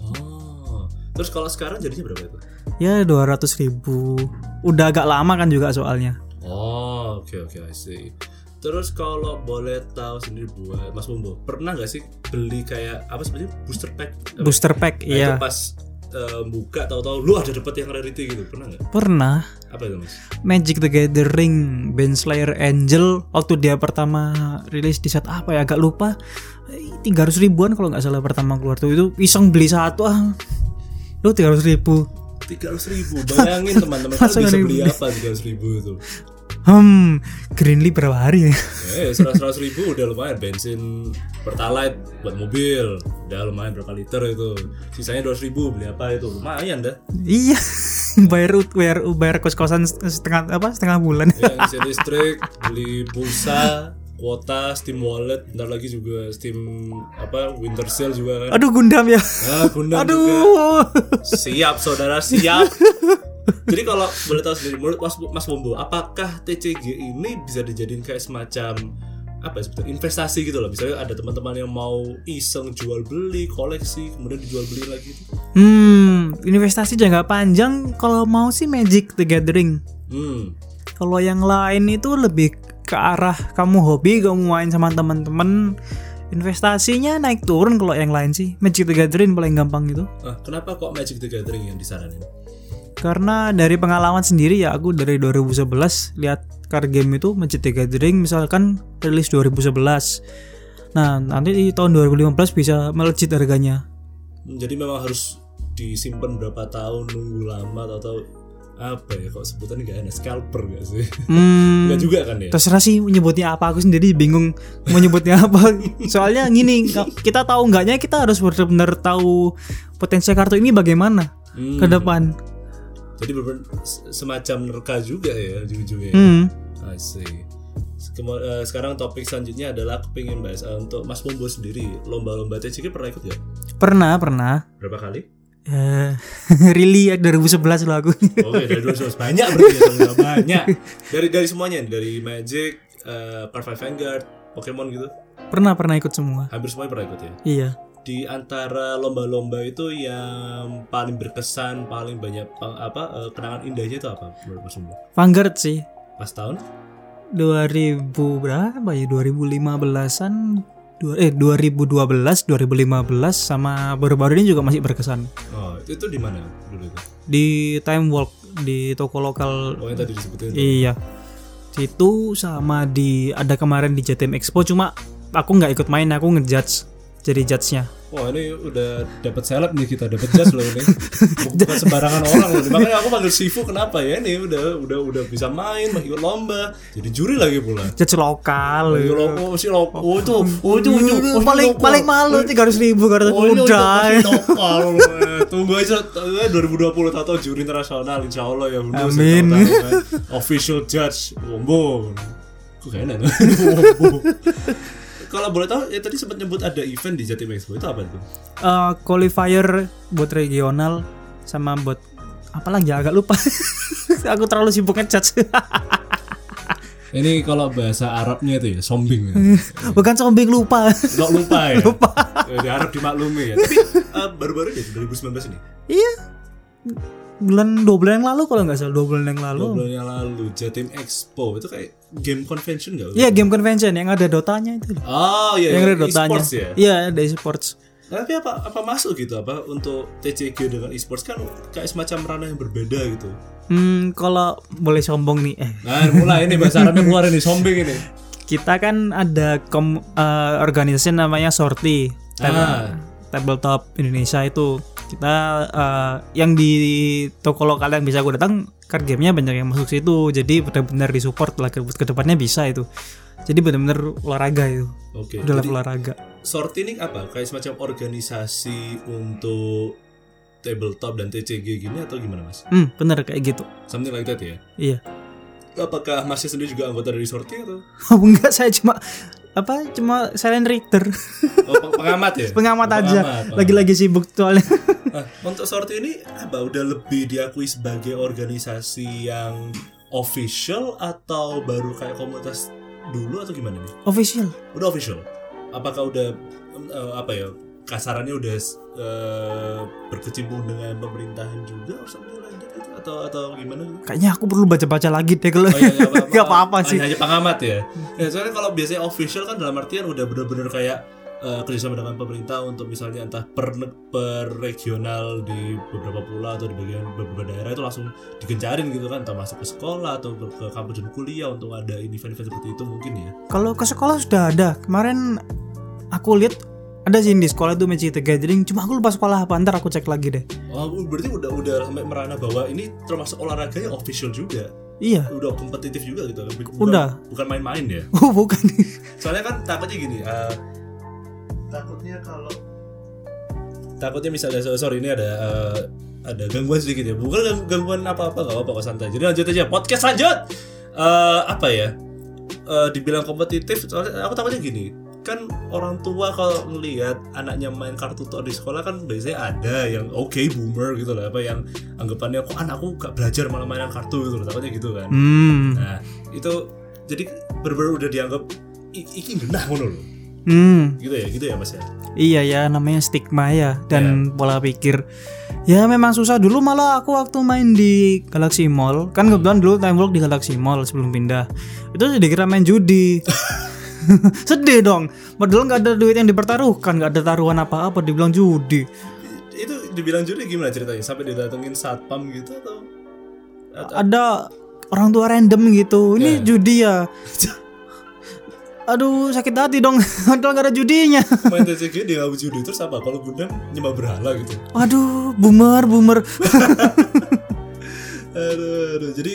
Speaker 1: Oh. Terus kalau sekarang jadinya berapa itu?
Speaker 2: Ya 200 ribu. Udah agak lama kan juga soalnya.
Speaker 1: Oh, oke oke I see. Terus kalau boleh tahu sendiri buat Mas Bumbo, pernah nggak sih beli kayak apa sebenarnya booster pack? Apa?
Speaker 2: Booster pack
Speaker 1: Nah,
Speaker 2: iya
Speaker 1: Itu pas eh, buka tahu-tahu lu ada dapat yang rarity gitu, pernah nggak?
Speaker 2: pernah.
Speaker 1: Apa itu Mas?
Speaker 2: Magic the Gathering, Benslayer Angel waktu dia pertama rilis di set apa ya agak lupa. Eh, 300 ribuan kalau nggak salah pertama keluar tuh itu iseng beli satu ah. Lu 300 ribu.
Speaker 1: Tiga ribu, bayangin teman-teman kan
Speaker 2: Langsung
Speaker 1: bisa
Speaker 2: ada
Speaker 1: beli
Speaker 2: yang
Speaker 1: apa tiga ribu itu?
Speaker 2: Hmm, Greenlee berapa hari ya?
Speaker 1: Eh, seratus ribu udah lumayan bensin pertalite buat mobil, udah lumayan berapa liter itu. Sisanya dua ribu beli apa itu? Lumayan dah.
Speaker 2: Iya. bayar ut- bayar bayar kos kosan setengah apa setengah bulan
Speaker 1: ya, isi listrik, beli pulsa, kuota, Steam Wallet, ntar lagi juga Steam apa Winter Sale juga kan.
Speaker 2: aduh gundam ya
Speaker 1: Ah, Gundam juga.
Speaker 2: aduh
Speaker 1: Siap saudara, siap. Jadi kalau boleh tahu sendiri menurut Mas, Mas Bombo, apakah TCG ini bisa dijadiin kayak semacam apa ya sebetulnya investasi gitu loh misalnya ada teman-teman yang mau iseng jual beli koleksi kemudian dijual beli lagi
Speaker 2: hmm investasi jangka panjang kalau mau sih Magic the Gathering
Speaker 1: hmm
Speaker 2: kalau yang lain itu lebih ke arah kamu hobi kamu main sama teman-teman investasinya naik turun kalau yang lain sih Magic the Gathering paling gampang gitu
Speaker 1: Ah, kenapa kok Magic the Gathering yang disaranin
Speaker 2: Karena dari pengalaman sendiri ya aku dari 2011 lihat card game itu Magic the Gathering misalkan rilis 2011. Nah, nanti di tahun 2015 bisa melejit harganya.
Speaker 1: jadi memang harus disimpan berapa tahun nunggu lama atau apa ya kok sebutan nggak enak scalper nggak sih
Speaker 2: Hmm,
Speaker 1: nggak juga kan ya
Speaker 2: terserah sih menyebutnya apa aku sendiri bingung menyebutnya apa. Soalnya gini, kita tahu enggaknya kita harus benar-benar tahu potensi kartu ini bagaimana
Speaker 1: Hmm,
Speaker 2: ke depan.
Speaker 1: jadi bener semacam nerka juga ya ujung-ujungnya
Speaker 2: Hmm.
Speaker 1: I see. Kemo- eh, sekarang topik selanjutnya adalah aku pengen bahas eh, untuk Mas Bombo sendiri lomba-lomba TCG pernah ikut ya
Speaker 2: Pernah, pernah.
Speaker 1: berapa kali?
Speaker 2: Eh, really ya 2011 loh aku.
Speaker 1: Oke dari dua source banyak berarti ya, teman-teman, banyak dari dari semuanya dari Magic, eh, Perfect Vanguard, Pokemon gitu
Speaker 2: pernah, pernah ikut semua.
Speaker 1: hampir semuanya pernah ikut ya.
Speaker 2: Iya.
Speaker 1: di antara lomba-lomba itu yang paling berkesan paling banyak peng- apa eh, kenangan indahnya itu apa menurut Mas Umbo?
Speaker 2: Vanguard sih.
Speaker 1: Pas tahun?
Speaker 2: 2000 berapa ya 2015-an dua- eh 2012 2015 sama baru-baru ini juga masih berkesan
Speaker 1: Oh itu, itu di mana dulu itu?
Speaker 2: di Time Walk di toko lokal
Speaker 1: Oh yang tadi disebutin. itu.
Speaker 2: iya situ sama di ada kemarin di JTM Expo cuma aku nggak ikut main aku ngejudge jadi judge-nya
Speaker 1: Wah ini udah dapat seleb nih kita dapat jas loh ini. Bukan sembarangan orang loh. Makanya aku panggil Sifu kenapa ya ini udah udah udah bisa main ikut lomba jadi juri lagi pula.
Speaker 2: judge lokal
Speaker 1: Yo loko si loko oh itu oh
Speaker 2: Iya,
Speaker 1: itu oh, itu, oh, si
Speaker 2: paling
Speaker 1: loko.
Speaker 2: paling malu 300 ribu kartu
Speaker 1: Oh, ini
Speaker 2: Iya. udah
Speaker 1: udah lokal. Tunggu aja eh, 2020 atau juri internasional insya Allah ya Bunda.
Speaker 2: Amin.
Speaker 1: Saya tahu-tahu, kan. Official judge Wombo. Kok kayaknya enak. Wombo. Kalau boleh tahu ya tadi sempat nyebut ada event di Jatim Expo itu apa itu?
Speaker 2: eh qualifier buat regional sama buat apa lagi ya, agak lupa aku terlalu sibuk ngejudge
Speaker 1: Ini kalau bahasa Arabnya itu ya sombing ya.
Speaker 2: bukan sombing lupa
Speaker 1: Lo lupa ya. Ya, Di Arab dimaklumi ya. Tapi eh, baru-baru aja 2019 ini.
Speaker 2: iya bulan dua bulan yang lalu kalau nggak salah dua bulan yang lalu
Speaker 1: Dua bulan yang lalu Jatim Expo itu kayak game convention enggak?
Speaker 2: iya game convention yang ada dotanya itu loh.
Speaker 1: Oh iya,
Speaker 2: yang ada
Speaker 1: iya,
Speaker 2: dotanya
Speaker 1: e-sports ya.
Speaker 2: iya ada e-sports
Speaker 1: Tapi apa apa masuk gitu apa untuk TCG dengan esports kan kayak semacam ranah yang berbeda gitu.
Speaker 2: hmm kalau boleh sombong nih eh
Speaker 1: Nah mulai ini bahasa Arabnya keluar ini sombing ini.
Speaker 2: kita kan ada kom eh, organisasi namanya sorti
Speaker 1: Ah.
Speaker 2: tabletop Indonesia itu kita eh, yang di toko lokal yang bisa aku datang card gamenya banyak yang masuk situ jadi benar-benar disupport lah ke, ke depannya bisa itu jadi benar-benar olahraga itu
Speaker 1: Oke.
Speaker 2: udah
Speaker 1: Jadi
Speaker 2: level olahraga
Speaker 1: sorti ini apa? Kayak semacam organisasi untuk tabletop dan TCG gini atau gimana mas?
Speaker 2: hmm bener kayak gitu
Speaker 1: Something like that ya.
Speaker 2: iya
Speaker 1: Apakah masnya sendiri juga anggota dari sorti atau
Speaker 2: oh enggak saya cuma apa cuma silent reader
Speaker 1: oh, peng- pengamat ya?
Speaker 2: pengamat aja
Speaker 1: Pengamat, oh.
Speaker 2: lagi-lagi sibuk soalnya
Speaker 1: Nah, untuk sorti ini apa udah lebih diakui sebagai organisasi yang official atau baru kayak komunitas dulu atau gimana nih?
Speaker 2: official
Speaker 1: Udah official. Apakah udah em, eh, apa ya? Kasarannya udah eh, berkecimpung dengan pemerintahan juga or something like that gitu? atau atau gimana?
Speaker 2: kayaknya aku perlu baca-baca lagi deh kalau
Speaker 1: Oh, iya, nggak apa-apa.
Speaker 2: nggak apa-apa sih
Speaker 1: Hanya pengamat ya. Ya, soalnya kalau biasanya official kan dalam artian udah bener-bener kayak eh, kerjasama dengan pemerintah untuk misalnya entah per, per regional di beberapa pulau atau di bagian beberapa daerah itu langsung digencarin gitu kan entah masuk ke sekolah atau ke, ke kampus dan kuliah untuk ada event-event seperti itu mungkin ya.
Speaker 2: Kalau ke sekolah sudah ada. Kemarin aku lihat ada sih di sekolah itu Magic the Gathering. Cuma aku lupa sekolah apa. Ntar aku cek lagi deh.
Speaker 1: Oh, berarti udah udah sampai merana bahwa ini termasuk olahraganya official juga,
Speaker 2: Iya.
Speaker 1: udah kompetitif juga gitu. Bukan-
Speaker 2: Udah.
Speaker 1: Bukan main-main ya.
Speaker 2: Oh bukan.
Speaker 1: soalnya kan takutnya gini eh, takutnya kalau takutnya misalnya so- sorry ini ada eh, ada gangguan sedikit ya bukan gang- gangguan apa-apa nggak apa-apa kok santai jadi lanjut aja podcast lanjut Eh, apa ya Eh, dibilang kompetitif soalnya aku takutnya gini kan orang tua kalau ngelihat anaknya main kartu tok di sekolah kan biasanya ada yang oke boomer gitu lah apa yang anggapannya kok anakku gak belajar malah mainan kartu gitu loh takutnya gitu kan
Speaker 2: Hmm.
Speaker 1: nah itu jadi berber udah dianggap "I- iki genah ngono loh
Speaker 2: Hmm.
Speaker 1: gitu ya gitu ya mas ya
Speaker 2: Iya ya namanya stigma ya dan pola pikir ya memang susah dulu malah aku waktu main di Galaxy Mall kan kebetulan dulu time work di Galaxy Mall sebelum pindah itu dikira main judi sedih dong padahal nggak ada duit yang dipertaruhkan nggak ada taruhan apa-apa dibilang judi
Speaker 1: itu dibilang juri gimana ceritanya sampai didatengin satpam gitu atau
Speaker 2: ada orang tua random gitu
Speaker 1: Ya.
Speaker 2: ini judi ya aduh sakit hati dong padahal nggak ada judinya
Speaker 1: main TCG dia nggak judi terus apa kalau Gundam nyembah berhala gitu
Speaker 2: aduh boomer boomer
Speaker 1: aduh, aduh. jadi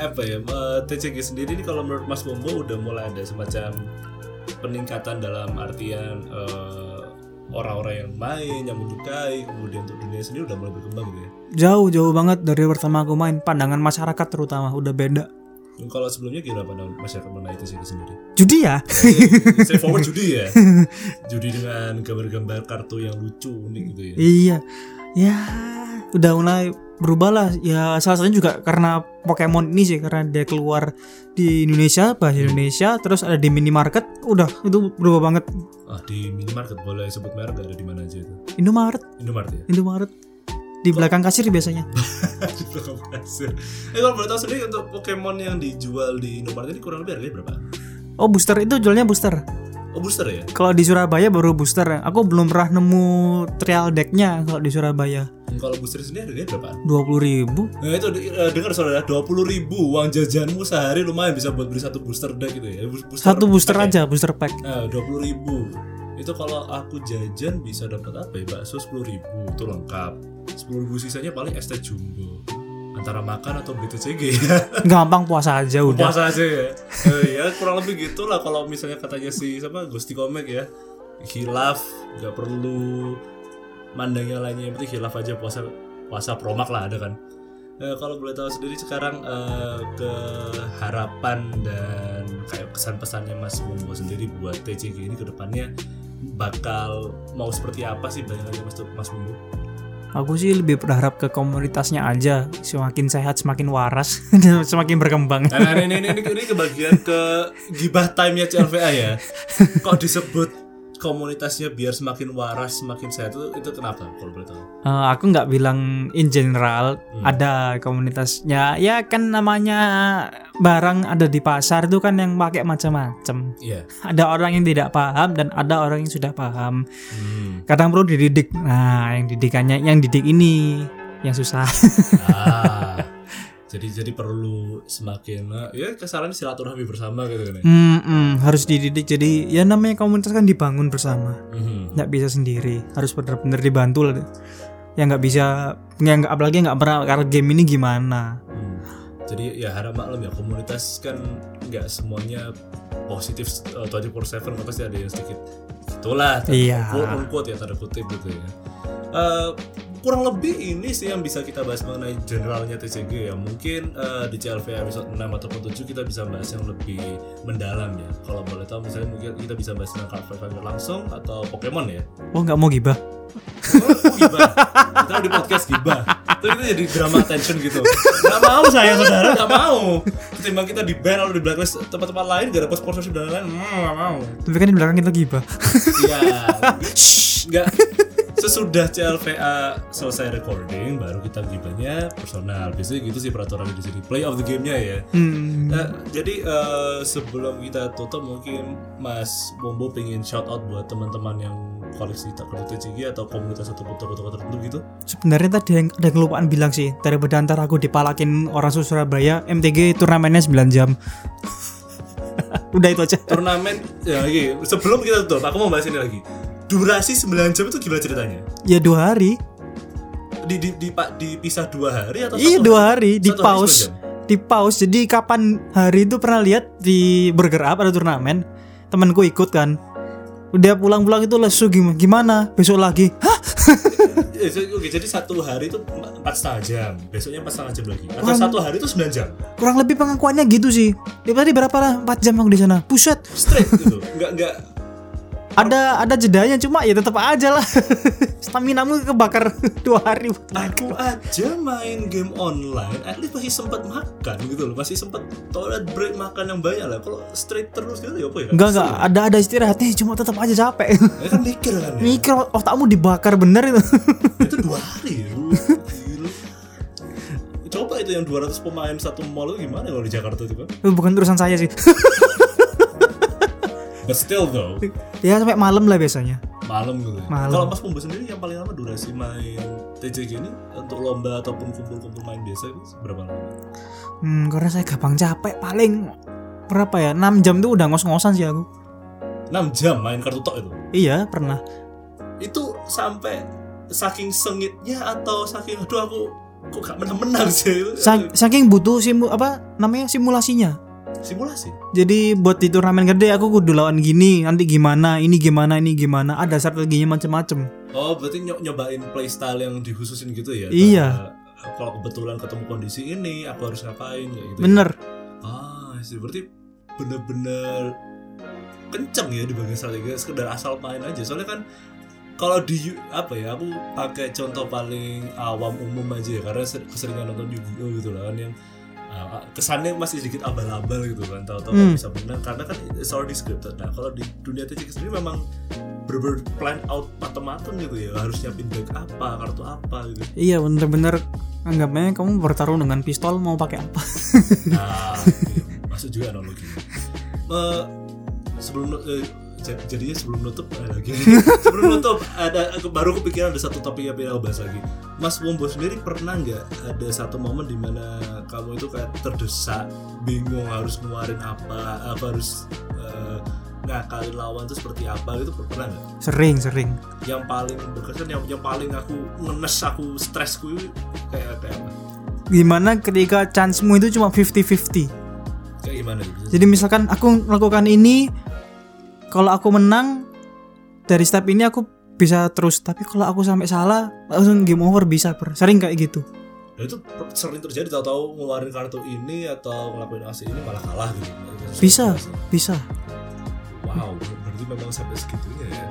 Speaker 1: apa ya eh, TCG sendiri ini kalau menurut Mas Bombo udah mulai ada semacam peningkatan dalam artian eh, orang-orang yang main yang menyukai kemudian untuk dunia sendiri udah mulai berkembang gitu ya
Speaker 2: jauh jauh banget dari pertama aku main pandangan masyarakat terutama udah beda
Speaker 1: Dan kalau sebelumnya gimana pandangan masyarakat mengenai TCG sendiri
Speaker 2: judi ya
Speaker 1: saya forward judi ya judi dengan gambar-gambar kartu yang lucu unik gitu ya
Speaker 2: iya ya udah mulai berubah lah ya salah satunya juga karena Pokemon ini sih karena dia keluar di Indonesia bahasa Indonesia terus ada di minimarket udah itu berubah banget
Speaker 1: ah di minimarket boleh sebut merek nggak ada di mana aja itu
Speaker 2: Indomaret
Speaker 1: Indomaret ya
Speaker 2: Indomaret di belakang kasir biasanya
Speaker 1: Di belakang kasir. eh kalau boleh tahu sendiri untuk Pokemon yang dijual di Indomaret ini kurang lebih harganya berapa
Speaker 2: oh booster itu jualnya booster
Speaker 1: oh booster ya
Speaker 2: kalau di Surabaya baru booster aku belum pernah nemu trial decknya kalau di Surabaya
Speaker 1: Hmm, kalau booster sendiri harganya berapa
Speaker 2: dua puluh ribu
Speaker 1: nah itu eh, dengar saudara dua puluh ribu uang jajanmu sehari lumayan bisa buat beli satu booster deck gitu ya Bus- booster
Speaker 2: satu booster aja booster pack
Speaker 1: Eh, dua puluh ribu itu kalau aku jajan bisa dapat apa ya bakso sepuluh ribu itu lengkap sepuluh ribu sisanya paling es teh jumbo antara makan atau beli TCG ya
Speaker 2: gampang puasa aja udah
Speaker 1: puasa aja ya Eh, ya kurang lebih gitulah kalau misalnya katanya si siapa Gusti Komek ya hilaf nggak perlu mandang yang lainnya yang penting hilaf aja puasa puasa promak lah ada kan Eh, kalau boleh tahu sendiri sekarang eh, ke harapan dan kayak kesan pesannya Mas Bumbo sendiri buat TCG ini kedepannya bakal mau seperti apa sih bayangannya Mas Mas Bumbo?
Speaker 2: aku sih lebih berharap ke komunitasnya aja semakin sehat semakin waras dan semakin berkembang Eh,
Speaker 1: Nah, nah, ini, ini, ini, ini kebagian ke gibah time-nya CLVA ya. Kok disebut komunitasnya biar semakin waras, semakin sehat itu, itu kenapa kalau boleh tahu?
Speaker 2: Eh, aku nggak bilang in general ada komunitasnya ya kan namanya barang ada di pasar itu kan yang pakai macam-macam
Speaker 1: Iya.
Speaker 2: ada orang yang tidak paham dan ada orang yang sudah paham
Speaker 1: Hmm.
Speaker 2: kadang perlu dididik nah yang didikannya yang didik ini yang susah
Speaker 1: Ah. jadi jadi perlu semakin eh, ya kesalahan silaturahmi bersama gitu kan. ya.
Speaker 2: Hmm. Mm-mm, harus dididik jadi ya namanya komunitas kan dibangun bersama
Speaker 1: Mhm.
Speaker 2: nggak bisa sendiri harus bener-bener dibantu lah ya nggak bisa nggak nggak- apalagi nggak pernah karena game ini gimana
Speaker 1: Hmm. Jadi ya harap maklum ya komunitas kan nggak semuanya positif uh, 24/7 kan pasti ada yang sedikit itulah tanda
Speaker 2: Iya.
Speaker 1: quote unquote ya tanda kutip gitu ya. Eh, kurang lebih ini sih yang bisa kita bahas mengenai generalnya TCG ya mungkin eh, di CLV episode 6 ataupun 7 kita bisa bahas yang lebih mendalam ya kalau boleh tahu misalnya mungkin kita bisa bahas tentang Card Fighter langsung atau Pokemon ya
Speaker 2: oh nggak mau gibah
Speaker 1: Oh, gibah. Kita di podcast gibah. Terus itu jadi drama attention gitu. Gak mau saya saudara, gak mau. Ketimbang kita di ban atau di blacklist tempat-tempat lain gak dapat sponsorship dan lain-lain, hmm, gak mau.
Speaker 2: tapi kan di belakang kita gibah
Speaker 1: Iya. Gak. Sesudah CLVA selesai recording, baru kita gibahnya personal. Biasanya gitu sih peraturan di sini. Play of the game-nya ya.
Speaker 2: Hmm.
Speaker 1: Nah, jadi eh, sebelum kita tutup mungkin Mas Bombo pengen shout out buat teman-teman yang koleksi tak kartu TCG atau komunitas atau toko-toko tertentu gitu.
Speaker 2: sebenarnya tadi yang- ada yang kelupaan bilang sih daripada antar aku dipalakin orang Surabaya MTG turnamennya 9 jam udah itu aja
Speaker 1: turnamen ya lagi sebelum kita tutup aku mau bahas ini lagi durasi 9 jam itu gimana ceritanya
Speaker 2: ya dua hari
Speaker 1: di di di pak dipisah dua hari atau Oh,
Speaker 2: iya
Speaker 1: satu
Speaker 2: dua hari di
Speaker 1: Satu hari
Speaker 2: pause
Speaker 1: sepuluh
Speaker 2: di pause jadi kapan hari itu pernah lihat di Burger Up ada turnamen temanku ikut kan udah pulang-pulang itu lesu gim- gimana besok lagi hah
Speaker 1: Eh, so- Oke, jadi satu hari itu empat empat setengah jam, besoknya empat setengah jam lagi. Atau
Speaker 2: Wah.
Speaker 1: satu hari itu sembilan jam,
Speaker 2: kurang lebih pengakuannya gitu sih ya, tadi berapa lah 4 jam aku di sana buset
Speaker 1: straight gitu. Enggak enggak
Speaker 2: ada ada jedanya cuma ya tetap aja lah stamina mu kebakar dua hari
Speaker 1: aku aja main game online, at least masih sempat makan gitu loh, masih sempat toilet break makan yang banyak lah. Kalau straight terus gitu ya apa ya?
Speaker 2: enggak enggak ada ada istirahatnya cuma tetap aja capek
Speaker 1: Ya kan mikir kan ya.
Speaker 2: mikir otakmu dibakar bener itu
Speaker 1: itu dua hari ya, Bu. Gila. Coba itu yang 200 pemain satu mall itu gimana kalau di Jakarta itu kan?
Speaker 2: bukan urusan saya sih
Speaker 1: But still though,
Speaker 2: ya sampai malam lah biasanya
Speaker 1: malam gitu. ya.
Speaker 2: Malam.
Speaker 1: Kalau Mas Pumbu sendiri yang paling lama durasi main TCG ini untuk lomba ataupun kumpul-kumpul main biasa itu berapa lama?
Speaker 2: hmm, karena saya gampang capek paling berapa ya 6 jam tuh udah ngos-ngosan sih aku
Speaker 1: 6 jam main kartu tok itu.
Speaker 2: iya pernah
Speaker 1: Itu sampai saking sengitnya atau saking aduh aku kok gak menang-menang sih itu
Speaker 2: Sa- saking butuh simu apa namanya simulasinya
Speaker 1: simulasi
Speaker 2: Jadi buat di turnamen gede aku kudu lawan gini, nanti gimana, ini gimana, ini gimana, ada strateginya macem-macem.
Speaker 1: oh berarti nyo- nyobain playstyle yang dikhususin gitu ya
Speaker 2: Iya.
Speaker 1: Kayak, kalau kebetulan ketemu kondisi ini aku harus ngapain kayak gitu ya?
Speaker 2: Bener.
Speaker 1: Ah, sih berarti bener-bener kenceng ya di bagian strategi sekedar asal main aja. Soalnya kan kalau di Yu- apa ya aku pakai contoh paling awam umum aja ya karena ser- keseringan nonton Yu-Gi-Oh gitu lah kan yang ah, kesannya masih sedikit abal-abal gitu kan tahu-tahu
Speaker 2: Hmm.
Speaker 1: bisa menang karena kan it's already scripted nah kalau di dunia TCG sendiri memang berber plan out matang-matang gitu ya harus nyiapin deck apa kartu apa gitu
Speaker 2: Iya bener-bener anggapnya kamu bertarung dengan pistol mau pakai apa?
Speaker 1: Nah, masuk juga analogi. Eh, sebelum eh, ja- jadinya sebelum nutup ada lagi. sebelum nutup ada aku- baru kepikiran ada satu topik yang pengen aku bahas lagi. Mas Wombo sendiri pernah nggak ada satu momen di mana kamu itu kayak terdesak, bingung harus ngeluarin apa, apa harus eh, ngakalin lawan itu seperti apa gitu pernah nggak?
Speaker 2: Sering, sering.
Speaker 1: Yang paling berkesan, yang, yang paling aku ngenes, aku stresku itu kayak kayak apa?
Speaker 2: Gimana ketika chance-mu itu cuma 50-50?
Speaker 1: Kayak gimana gitu?
Speaker 2: Jadi misalkan aku melakukan ini, kalau aku menang dari step ini aku bisa terus, tapi kalau aku sampai salah langsung game over bisa per. Sering kayak gitu.
Speaker 1: Dan itu per- sering terjadi tahu-tahu ngeluarin kartu ini atau ngelakuin aksi ini malah kalah gitu.
Speaker 2: Bisa, bisa.
Speaker 1: Wow, ber- berarti memang sampai segitunya ya.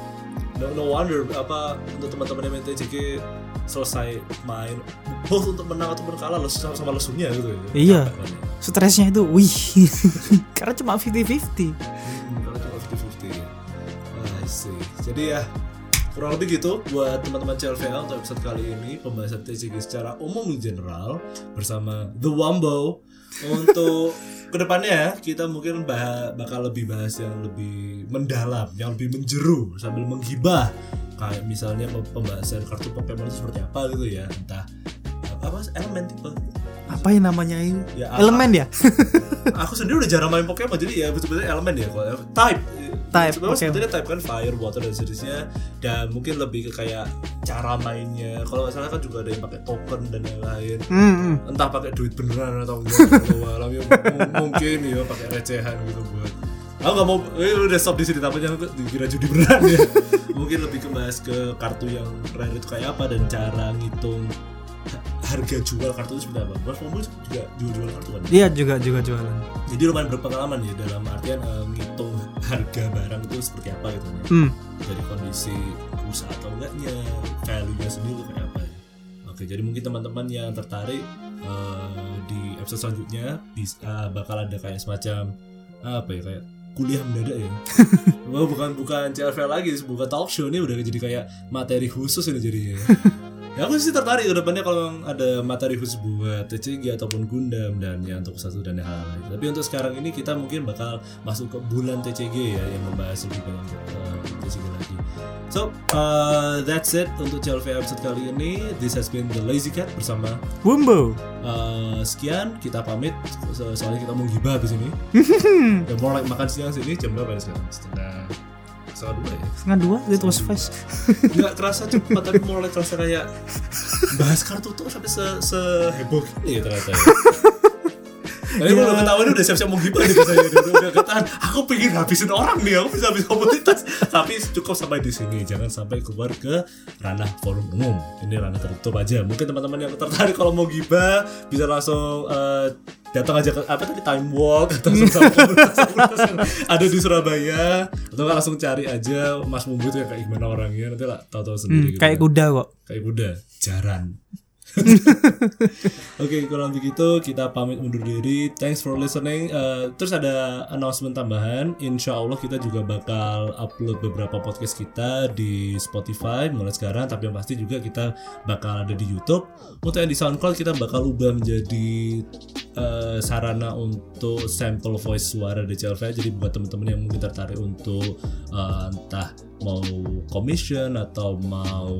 Speaker 1: No, no wonder apa untuk teman-teman yang main TCG selesai main both untuk menang ataupun kalah lesu sama, sama lesunya gitu ya.
Speaker 2: Iya.
Speaker 1: Capek kan ya.
Speaker 2: Stresnya itu, wih. Karena cuma 50-50.
Speaker 1: Hmm, karena cuma 50-50 ya. I see. Jadi ya kurang lebih gitu buat teman-teman CLVA untuk episode kali ini pembahasan TCG secara umum general bersama The Wombo untuk kedepannya ya kita mungkin bah- bakal lebih bahas yang lebih mendalam yang lebih menjeru sambil menggibah kayak misalnya pem- pembahasan kartu Pokemon itu seperti apa gitu ya entah apa elemen tipe
Speaker 2: apa ya namanya ini?
Speaker 1: ya apa-
Speaker 2: elemen ya
Speaker 1: aku sendiri udah jarang main Pokemon jadi ya betul-betul elemen ya kalau type
Speaker 2: Type,
Speaker 1: Sebenarnya
Speaker 2: oke.
Speaker 1: sebetulnya type kan fire water dan seterusnya dan mungkin lebih ke kayak cara mainnya kalau nggak salah kan juga ada yang pakai token dan lain-lain
Speaker 2: Hmm, hmm.
Speaker 1: entah pakai duit beneran atau enggak Kalau alam ya, m- mungkin ya pakai recehan gitu buat aku nggak mau eh, udah stop di sini tapi jangan dikira judi beneran ya mungkin lebih ke bahas ke kartu yang rare itu kayak apa dan cara ngitung ha- harga jual kartu itu seperti apa. Mas Mumpul juga jual-jual kartu kan?
Speaker 2: dia Iya, juga juga jualan
Speaker 1: jadi lumayan berpengalaman ya dalam artian eh, ngitung harga barang itu seperti apa gitu ya
Speaker 2: hmm.
Speaker 1: dari kondisi usaha atau enggaknya value-nya sendiri kayak apa ya oke jadi mungkin teman-teman yang tertarik eh, di episode selanjutnya bis- eh, bakal ada kayak semacam apa ya kayak kuliah mendadak ya Wah, bukan bukan CLV lagi bukan talk show ini udah jadi kayak materi khusus ini jadinya ya aku sih tertarik ke depannya kalau memang ada materi khusus buat TCG ataupun Gundam dan ya untuk satu dan hal lain tapi untuk sekarang ini kita mungkin bakal masuk ke bulan TCG ya yang membahas lebih banyak eh, TCG lagi so uh, that's it untuk CLV episode kali ini this has been The Lazy Cat bersama
Speaker 2: Wumbo
Speaker 1: eh, sekian kita pamit So- soalnya kita mau gibah habis ini dan more like makan siang sini jam berapa ya sekarang setengah setengah dua ya
Speaker 2: setengah dua that was fast
Speaker 1: nggak kerasa cepat tapi mulai kerasa kayak bahas kartu tuh sampai se seheboh ini ya ternyata ya. Tapi gue udah ketahuan udah siap-siap mau gibah nih saya udah, udah ketahuan. Aku pengen habisin orang nih, aku bisa habis komunitas. Tapi cukup sampai di sini, jangan sampai keluar ke ranah forum umum. Ini ranah tertutup aja. Mungkin teman-teman yang tertarik kalau mau gibah bisa langsung eh, datang aja ke apa tadi time walk atau sesama komunitas-komunitas yang ada di Surabaya atau nggak langsung cari aja Mas Mumbu itu yang kayak gimana orangnya nanti lah tahu-tahu sendiri. gitu.
Speaker 2: Hmm, kayak kuda kok.
Speaker 1: Kayak kuda, jaran. Oke, kurang begitu kita pamit undur diri. Thanks for listening. Eh, terus ada announcement tambahan. Insya Allah kita juga bakal upload beberapa podcast kita di Spotify mulai sekarang. Tapi yang pasti juga kita bakal ada di YouTube. Untuk yang di SoundCloud kita bakal ubah menjadi eh, sarana untuk sample voice suara DCLV. Jadi buat teman-teman yang mungkin tertarik untuk eh, entah mau commission atau mau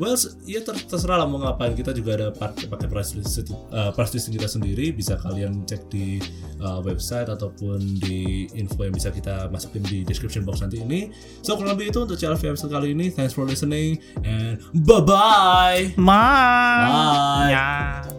Speaker 1: well se- ya ter- terserah lah mau ngapain kita juga ada par- pakai price list eh, price list kita sendiri bisa kalian cek di eh, website ataupun di info yang bisa kita masukin di description box nanti ini so kurang lebih itu untuk CLV episode kali ini thanks for listening and bye bye
Speaker 2: Ma.
Speaker 1: Bye.
Speaker 2: Ya.